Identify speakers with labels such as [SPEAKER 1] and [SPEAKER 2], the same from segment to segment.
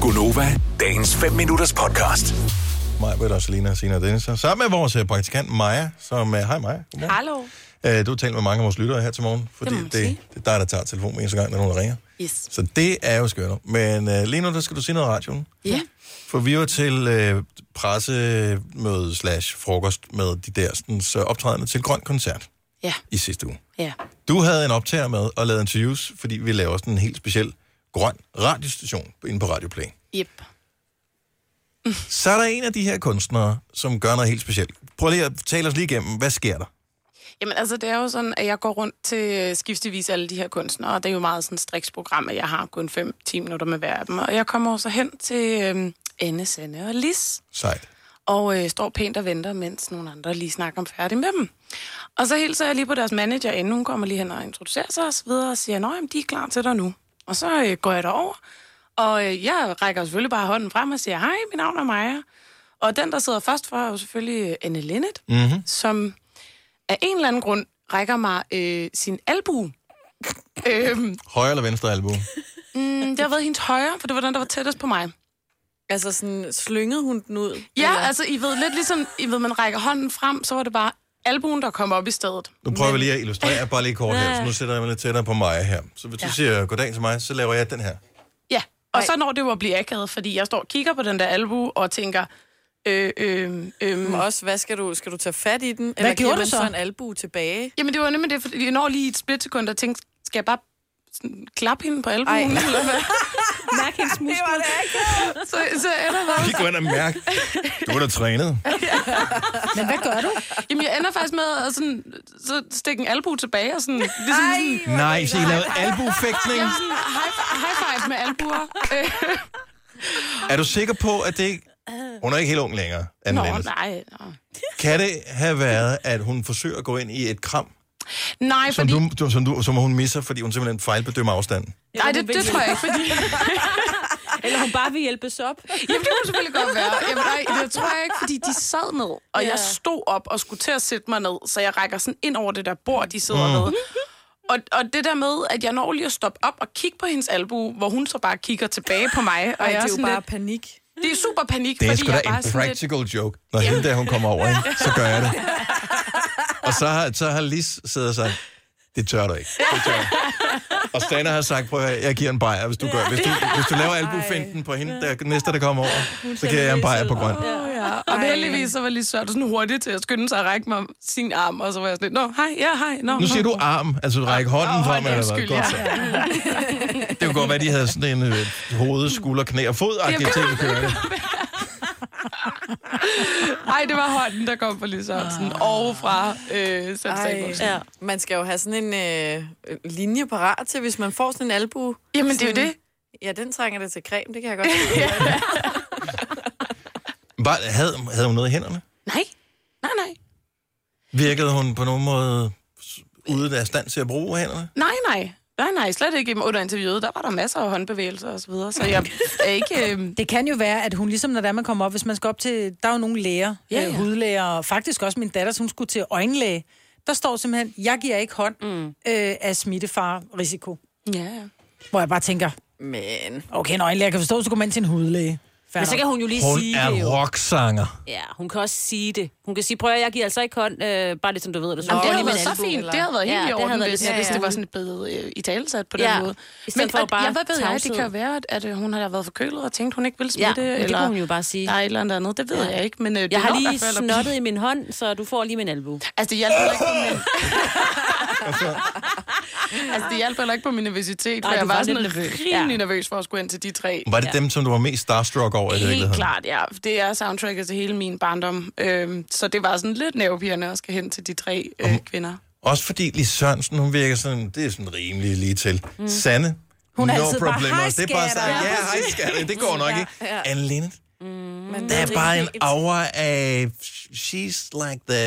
[SPEAKER 1] Gunova, dagens 5 minutters podcast.
[SPEAKER 2] Maja, Britt og Selina, Sina og Dennis. Og Sammen med vores øh, praktikant Maja, som... øh, Hej Maja. Godmorgen.
[SPEAKER 3] Hallo.
[SPEAKER 2] Øh, Du har talt med mange af vores lyttere her til morgen, fordi
[SPEAKER 3] Det må man
[SPEAKER 2] det, det,
[SPEAKER 3] sige.
[SPEAKER 2] det er dig, der tager telefonen hver eneste gang, når nogen ringer.
[SPEAKER 3] Yes.
[SPEAKER 2] Så det er jo skørt. Men øh, lige nu, der skal du sige noget i radioen.
[SPEAKER 3] Ja.
[SPEAKER 2] For vi var til øh, pressemøde slash frokost med de der sådan, så optrædende til Grøn Koncert
[SPEAKER 3] Ja.
[SPEAKER 2] i sidste uge.
[SPEAKER 3] Ja.
[SPEAKER 2] Du havde en optager med og lavede interviews, fordi vi laver sådan en helt speciel grøn radiostation inde på Radioplay.
[SPEAKER 3] Yep.
[SPEAKER 2] Så er der en af de her kunstnere, som gør noget helt specielt. Prøv lige at tale os lige igennem, hvad sker der?
[SPEAKER 3] Jamen altså, det er jo sådan, at jeg går rundt til øh, skiftevis alle de her kunstnere, og det er jo meget sådan et striksprogram, at jeg har kun 5-10 minutter med hver af dem. Og jeg kommer så hen til øhm, Anne, Sanne og Lis,
[SPEAKER 2] Sejt.
[SPEAKER 3] og øh, står pænt og venter, mens nogle andre lige snakker om færdig med dem. Og så hilser jeg lige på deres manager, inden hun kommer lige hen og introducerer sig og så videre, og siger, at de er klar til dig nu. Og så øh, går jeg derover, og øh, jeg rækker selvfølgelig bare hånden frem og siger, hej, mit navn er Maja. Og den, der sidder først for, er jo selvfølgelig øh, Anne Linnet, mm-hmm. som af en eller anden grund rækker mig øh, sin albue. øhm,
[SPEAKER 2] Højre eller venstre albu?
[SPEAKER 3] det har været Mm, hendes højre, for det var den, der var tættest på mig.
[SPEAKER 4] Altså sådan, slyngede hun den ud?
[SPEAKER 3] Ja, altså, I ved, lidt ligesom, I ved, man rækker hånden frem, så var det bare albuen, der kom op i stedet.
[SPEAKER 2] Nu prøver vi lige at illustrere bare lige kort her, så nu sætter jeg mig lidt tættere på mig her. Så hvis du ja. siger goddag til mig, så laver jeg den her.
[SPEAKER 3] Ja, og så når det jo at blive akavet, fordi jeg står og kigger på den der albue og tænker, øh, øh, øh,
[SPEAKER 4] Men Øhm, også, hvad skal du, skal du tage fat i den? Hvad eller
[SPEAKER 3] gjorde
[SPEAKER 4] giver
[SPEAKER 3] du
[SPEAKER 4] man
[SPEAKER 3] så?
[SPEAKER 4] så? en albu tilbage?
[SPEAKER 3] jamen det var nemlig det, fordi jeg når lige i et splitsekund og tænker, skal jeg bare sådan, klappe hende på
[SPEAKER 4] Ej.
[SPEAKER 3] albuen? eller hvad?
[SPEAKER 5] Mærk hendes muskler. Det var det ikke.
[SPEAKER 3] så, så ender jeg
[SPEAKER 2] Lige gå ind og mærke. Du er da trænet.
[SPEAKER 5] Men hvad gør du?
[SPEAKER 3] Jamen, jeg ender faktisk med at sådan, så stikke en albu tilbage og sådan... Ligesom sådan
[SPEAKER 2] Nej, så I lavede albufægtning.
[SPEAKER 3] jeg var sådan high, high five med albuer. Øh,
[SPEAKER 2] Er du sikker på, at det ikke... Hun er ikke helt ung længere, Anne
[SPEAKER 3] Nå,
[SPEAKER 2] Lennes.
[SPEAKER 3] nej. nå.
[SPEAKER 2] Kan det have været, at hun forsøger at gå ind i et kram,
[SPEAKER 3] Nej,
[SPEAKER 2] som,
[SPEAKER 3] fordi...
[SPEAKER 2] du, du, som, du, som hun misser, fordi hun simpelthen fejlbedømmer afstanden?
[SPEAKER 3] Nej, det, det tror jeg ikke, fordi...
[SPEAKER 5] Eller hun bare vil hjælpes op.
[SPEAKER 3] Jamen, det kunne selvfølgelig godt være. Jamen, nej, det tror jeg ikke, fordi de sad ned, og jeg stod op og skulle til at sætte mig ned, så jeg rækker sådan ind over det der bord, de sidder mm. nede. Og, og det der med, at jeg når lige at stoppe op og kigge på hendes albue, hvor hun så bare kigger tilbage på mig, og
[SPEAKER 4] Ej,
[SPEAKER 3] jeg
[SPEAKER 4] det
[SPEAKER 3] er
[SPEAKER 4] er jo
[SPEAKER 3] sådan
[SPEAKER 4] bare
[SPEAKER 3] lidt,
[SPEAKER 4] panik.
[SPEAKER 3] det er super panik,
[SPEAKER 2] Det er
[SPEAKER 3] fordi
[SPEAKER 2] sgu
[SPEAKER 3] jeg
[SPEAKER 2] da
[SPEAKER 3] er bare
[SPEAKER 2] en
[SPEAKER 3] sådan lidt,
[SPEAKER 2] practical joke. Når hende der, hun kommer over, ikke, så gør jeg det. Og så har, så har Lis siddet og sagt, det tør du ikke. Det tør du. ikke." Og Stana har sagt, prøv at høre, jeg giver en bajer, hvis du, gør, hvis du, hvis du laver albufinten på hende, der, næste der kommer over, så giver jeg en bajer på grøn.
[SPEAKER 3] Åh, ja. Og Ej. heldigvis så var lige Søren sådan hurtigt til at skynde sig at række mig sin arm, og så var jeg sådan lidt, nå, hej, ja, hej, nå.
[SPEAKER 2] Nu siger
[SPEAKER 3] nå."
[SPEAKER 2] du arm, altså række hånden
[SPEAKER 3] Åh,
[SPEAKER 2] frem,
[SPEAKER 3] hånden,
[SPEAKER 2] eller hvad?
[SPEAKER 3] undskyld,
[SPEAKER 2] Godt så.
[SPEAKER 3] ja.
[SPEAKER 2] Det kunne godt være, de havde sådan en øh, hoved, skulder, knæ og fod
[SPEAKER 3] Jamen, det
[SPEAKER 2] ting
[SPEAKER 3] kunne-
[SPEAKER 2] kørende.
[SPEAKER 3] Ej, det var hånden, der kom fra Lise Sørensen, og fra øh, Sam Samuelsen.
[SPEAKER 4] Ja. Man skal jo have sådan en øh, linje parat til, hvis man får sådan en albu.
[SPEAKER 3] Jamen, det er jo det.
[SPEAKER 4] Ja, den trænger det til creme, det kan jeg godt se.
[SPEAKER 2] Var, havde, havde hun noget i hænderne?
[SPEAKER 3] Nej, nej, nej.
[SPEAKER 2] Virkede hun på nogen måde ude af stand til at bruge hænderne?
[SPEAKER 3] Nej, nej. Nej, nej, slet ikke under interviewet. Der var der masser af håndbevægelser og så videre, så jeg er ikke... Øh,
[SPEAKER 5] Det kan jo være, at hun ligesom når der man kommer op, hvis man skal op til, der er jo nogle læger, ja,
[SPEAKER 3] Ja,
[SPEAKER 5] ja.
[SPEAKER 3] ja.
[SPEAKER 5] Øh, hudlæger, og faktisk også min datter, som skulle til øjenlæge. Der står simpelthen, jeg giver ikke hånd mm. øh, af smittefare-risiko.
[SPEAKER 3] ja, ja.
[SPEAKER 5] Hvor jeg bare tænker,
[SPEAKER 4] Men...
[SPEAKER 5] okay, en øjenlæger jeg kan forstå, så går man til en hudlæge. Fair
[SPEAKER 6] Men så
[SPEAKER 5] nok.
[SPEAKER 6] kan hun jo lige
[SPEAKER 2] Hun
[SPEAKER 6] sige det
[SPEAKER 2] er
[SPEAKER 6] jo.
[SPEAKER 2] rocksanger.
[SPEAKER 6] Ja, hun kan også sige det. Hun kan sige, prøv at høre, jeg giver altså ikke hånd, øh, bare lidt som du ved det. Så
[SPEAKER 3] Jamen, det
[SPEAKER 6] Lige
[SPEAKER 3] havde
[SPEAKER 6] med
[SPEAKER 3] været
[SPEAKER 6] en
[SPEAKER 3] så
[SPEAKER 6] albu,
[SPEAKER 3] fint.
[SPEAKER 6] eller-
[SPEAKER 3] Det havde været
[SPEAKER 6] Ja,
[SPEAKER 3] helt i
[SPEAKER 6] det havde
[SPEAKER 3] orden,
[SPEAKER 6] været
[SPEAKER 3] hvis,
[SPEAKER 6] lidt
[SPEAKER 3] ja,
[SPEAKER 6] mere
[SPEAKER 3] hvis det var
[SPEAKER 6] sådan-
[SPEAKER 3] sådan blevet øh, i talesat på den
[SPEAKER 6] Ja.
[SPEAKER 3] måde.
[SPEAKER 6] I stedet for
[SPEAKER 3] at-
[SPEAKER 6] bare
[SPEAKER 3] ja, hvad ved jeg? Det
[SPEAKER 6] tavshed.
[SPEAKER 3] kan jo være, at, at hun har været forkølet og tænkt, hun ikke vil
[SPEAKER 6] Ja,
[SPEAKER 3] smitte.
[SPEAKER 6] men det
[SPEAKER 3] eller
[SPEAKER 6] kunne hun jo bare sige.
[SPEAKER 3] Der er et eller andet andet. Det ved jeg ikke, men øh, det
[SPEAKER 6] Jeg har
[SPEAKER 3] lå
[SPEAKER 6] lige
[SPEAKER 3] der før eller-
[SPEAKER 6] snottet i min hånd, så du får lige min albu.
[SPEAKER 3] Altså, det hjalp heller ikke på min... altså, det hjalp heller ikke på min nervøsitet, for
[SPEAKER 6] Nej,
[SPEAKER 3] jeg
[SPEAKER 6] du
[SPEAKER 3] var
[SPEAKER 6] var
[SPEAKER 3] sådan
[SPEAKER 6] lidt nervøs.
[SPEAKER 3] rimelig
[SPEAKER 6] Ja.
[SPEAKER 3] nervøs for at skulle ind til de tre.
[SPEAKER 2] Var det ja. dem, som du var mest starstruck over i
[SPEAKER 3] Helt
[SPEAKER 2] virkeligheden?
[SPEAKER 3] klart, ja. Det er soundtracket til hele min barndom. Øhm, så det var sådan lidt nervepirrende at skal hen til de tre øh, kvinder.
[SPEAKER 2] Også fordi Lis Sørensen, hun virker sådan, det er sådan rimelig lige til. Mm. Sanne,
[SPEAKER 5] Hun er
[SPEAKER 2] no
[SPEAKER 5] altid bare,
[SPEAKER 2] problemos.
[SPEAKER 5] "Hej,
[SPEAKER 2] det er bare sådan,
[SPEAKER 5] skatter."
[SPEAKER 2] ja, hej skatter, det går nok ikke.
[SPEAKER 4] Ja, ja.
[SPEAKER 2] Anne Linnet,
[SPEAKER 4] men
[SPEAKER 2] der er
[SPEAKER 4] det
[SPEAKER 2] bare en
[SPEAKER 4] helt-
[SPEAKER 2] aura af, she's like the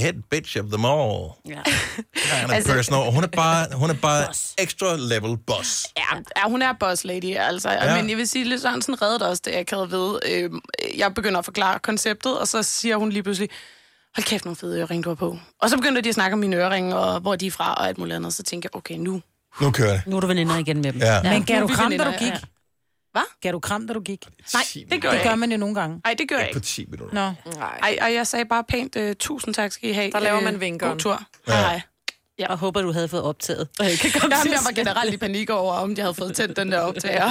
[SPEAKER 2] head bitch of them all.
[SPEAKER 6] Ja.
[SPEAKER 2] Kind of altså, person. Og Hun er bare, hun er bare extra level boss.
[SPEAKER 3] Ja, ja, hun er boss lady, altså.
[SPEAKER 2] Ja.
[SPEAKER 3] Ja. Men jeg vil sige, at Sørensen reddede også det, jeg kaldte ved. Øhm, jeg begynder at forklare konceptet, og så siger hun lige pludselig, hold kæft, nogle fede øring, du har på. Og så begyndte de at snakke om mine øring, og hvor de er fra, og alt muligt andet. Så tænker jeg, okay, nu.
[SPEAKER 2] Nu kører det.
[SPEAKER 6] Nu er du veninder igen med dem.
[SPEAKER 2] Ja.
[SPEAKER 5] Men gav
[SPEAKER 3] Nu
[SPEAKER 5] du
[SPEAKER 3] er vi
[SPEAKER 5] kram, da du
[SPEAKER 3] veninder,
[SPEAKER 5] gik?
[SPEAKER 3] ja. Hvad?
[SPEAKER 5] Gav du kram, da du gik?
[SPEAKER 3] Nej, det gør
[SPEAKER 5] Det
[SPEAKER 3] jeg
[SPEAKER 5] gør man jo nogle gange.
[SPEAKER 3] Ej, det gør jeg
[SPEAKER 2] Ikke på
[SPEAKER 3] ikke.
[SPEAKER 2] 10 minutter.
[SPEAKER 5] Nå.
[SPEAKER 4] Nej.
[SPEAKER 3] Ej, og jeg sagde bare pænt, øh, tusind tak skal I have.
[SPEAKER 4] Der laver
[SPEAKER 3] Øh,
[SPEAKER 4] man vinkeren.
[SPEAKER 3] God tur.
[SPEAKER 2] Ja.
[SPEAKER 3] Ja. Hej.
[SPEAKER 6] Ja. Og håber, du havde fået optaget. Og jeg kan komme
[SPEAKER 3] Jamen, jeg var generelt i panik over, om jeg havde fået tændt den der optager.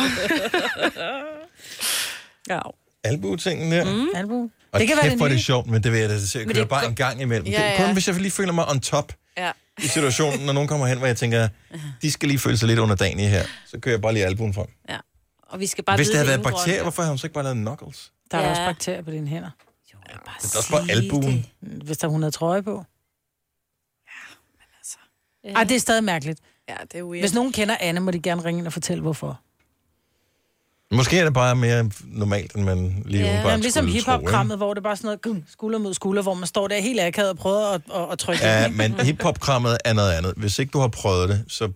[SPEAKER 6] ja.
[SPEAKER 2] Albuetingen der. Mm.
[SPEAKER 5] Albu.
[SPEAKER 2] Og
[SPEAKER 5] Det kan være det
[SPEAKER 2] det er
[SPEAKER 5] nye.
[SPEAKER 2] sjovt, men det vil jeg da se at
[SPEAKER 6] det
[SPEAKER 2] køre
[SPEAKER 6] er
[SPEAKER 2] bare
[SPEAKER 6] go-
[SPEAKER 2] en gang imellem.
[SPEAKER 4] Ja,
[SPEAKER 2] Ja, ja.
[SPEAKER 4] ja.
[SPEAKER 2] Kun hvis jeg lige føler mig on top
[SPEAKER 4] Ja.
[SPEAKER 2] i situationen, når nogen kommer hen, hvor jeg tænker, de skal lige føle sig lidt under dagen i her, så kører jeg bare lige albuen frem.
[SPEAKER 6] ja. Og vi skal bare
[SPEAKER 2] Hvis
[SPEAKER 6] vide
[SPEAKER 2] det havde været
[SPEAKER 6] inden, Ronja.
[SPEAKER 2] bakterier, hvorfor har hun så ikke bare lavet knuckles?
[SPEAKER 5] Der er
[SPEAKER 6] Ja.
[SPEAKER 5] ja. også bakterier på dine hænder.
[SPEAKER 6] Jo, jeg vil bare
[SPEAKER 2] Det er også bare
[SPEAKER 6] sige
[SPEAKER 2] albuen.
[SPEAKER 6] det.
[SPEAKER 5] Hvis der er 100 trøje på. Ja. Ej, det er stadig mærkeligt.
[SPEAKER 4] ja, det er weird.
[SPEAKER 5] Hvis nogen kender Anne, må de gerne ringe ind og fortælle, hvorfor.
[SPEAKER 2] Måske er det bare mere normalt, end man lige ja,
[SPEAKER 5] Ja,
[SPEAKER 6] Ja.
[SPEAKER 2] umiddelbart
[SPEAKER 5] men ligesom
[SPEAKER 2] skulle tro, ikke?
[SPEAKER 5] hiphop-krammet, hvor det bare er sådan noget gung, skulder mod skulder, hvor man står der helt akavet og prøver at, at, at trykke.
[SPEAKER 2] Ja,
[SPEAKER 5] Ja.
[SPEAKER 2] men hiphop-krammet er noget andet. Hvis ikke du har prøvet det, så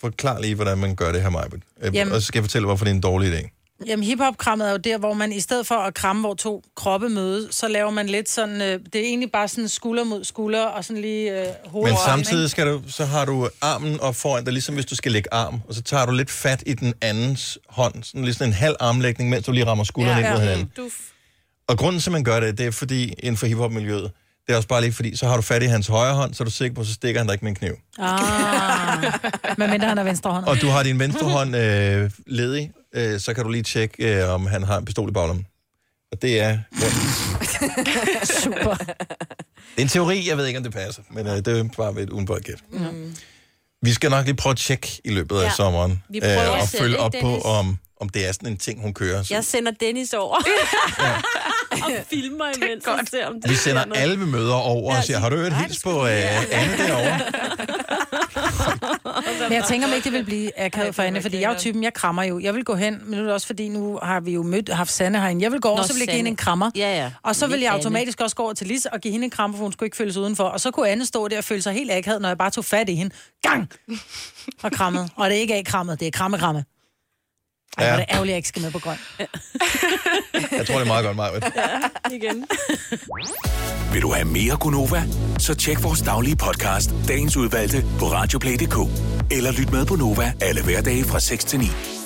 [SPEAKER 2] forklar lige, hvordan man gør det her, Majbet. Øh,
[SPEAKER 5] Jamen.
[SPEAKER 2] Og så skal jeg fortælle, hvorfor det er en dårlig idé.
[SPEAKER 5] Jamen, hiphop-krammet er jo der, hvor man i stedet for at kramme, hvor to kroppe mødes, så laver man lidt sådan, øh, det er egentlig bare sådan skulder mod skulder, og sådan lige øh, hovedet.
[SPEAKER 2] Men
[SPEAKER 5] op,
[SPEAKER 2] samtidig skal du, så har du armen op foran dig, ligesom hvis du skal lægge arm, og så tager du lidt fat i den andens hånd, sådan lidt sådan en halv armlægning, mens du lige rammer skulderen ja, ind mod hinanden.
[SPEAKER 4] Du...
[SPEAKER 2] Og grunden til, at man gør det, det er fordi, inden for hiphop-miljøet, det er også bare lige fordi, så har du fat i hans højre hånd, så er du sikker på, så stikker han dig ikke med en kniv.
[SPEAKER 5] ikke? Ah. Men mindre han er venstre hånd.
[SPEAKER 2] Og du har din venstre hånd øh, ledig, øh, så kan du lige tjekke, øh, om han har en pistol i baglommen. Og det er... Ja.
[SPEAKER 5] Super.
[SPEAKER 2] Det er en teori, jeg ved ikke, om det passer, men øh, det er bare ved et udenbart gæt. Mm. Vi skal nok lige prøve at tjekke i løbet af
[SPEAKER 6] Ja.
[SPEAKER 2] sommeren, øh,
[SPEAKER 6] Vi prøver
[SPEAKER 2] og
[SPEAKER 6] selv,
[SPEAKER 2] følge
[SPEAKER 6] ikke,
[SPEAKER 2] op
[SPEAKER 6] Dennis?
[SPEAKER 2] på, om, om det er sådan en ting, hun kører. Så
[SPEAKER 6] Jeg sender Dennis over. og filmer imens, og ser, om det
[SPEAKER 2] vi
[SPEAKER 6] sker
[SPEAKER 2] sender
[SPEAKER 6] noget.
[SPEAKER 2] alle møder over og siger, har du hørt
[SPEAKER 6] Nej,
[SPEAKER 2] hils
[SPEAKER 6] det
[SPEAKER 2] på øh, Anne derovre?
[SPEAKER 5] Men jeg tænker, om ikke det vil blive akavet for Anne, fordi jeg er jo typen, jeg krammer jo. Jeg vil gå hen, men nu er det også fordi, nu har vi jo mødt, haft Sanne herinde. Jeg vil gå over,
[SPEAKER 6] Nå,
[SPEAKER 5] Nå, så vil jeg give
[SPEAKER 6] Sanne.
[SPEAKER 5] hende en krammer.
[SPEAKER 6] Ja, ja.
[SPEAKER 5] Og så
[SPEAKER 6] Men
[SPEAKER 5] vil
[SPEAKER 6] ikke
[SPEAKER 5] jeg
[SPEAKER 6] Anne.
[SPEAKER 5] automatisk også gå over til Lis og give hende en krammer, for hun skulle ikke føles udenfor. Og så kunne Anne stå der og føle sig helt akavet, når jeg bare tog fat i hende. Gang! Og krammet. Og det er ikke af-krammet, det er kramme-kramme. Ej,
[SPEAKER 2] Ja.
[SPEAKER 5] ja. det er ærgerligt, jeg ikke skal med på grøn.
[SPEAKER 2] Jeg tror, det er meget godt, Maja.
[SPEAKER 6] igen.
[SPEAKER 1] Vil du have mere Gunova? Så tjek vores daglige podcast, dagens udvalgte, på radioplay.dk. Eller lyt med på Nova alle hverdage fra 6 til 9.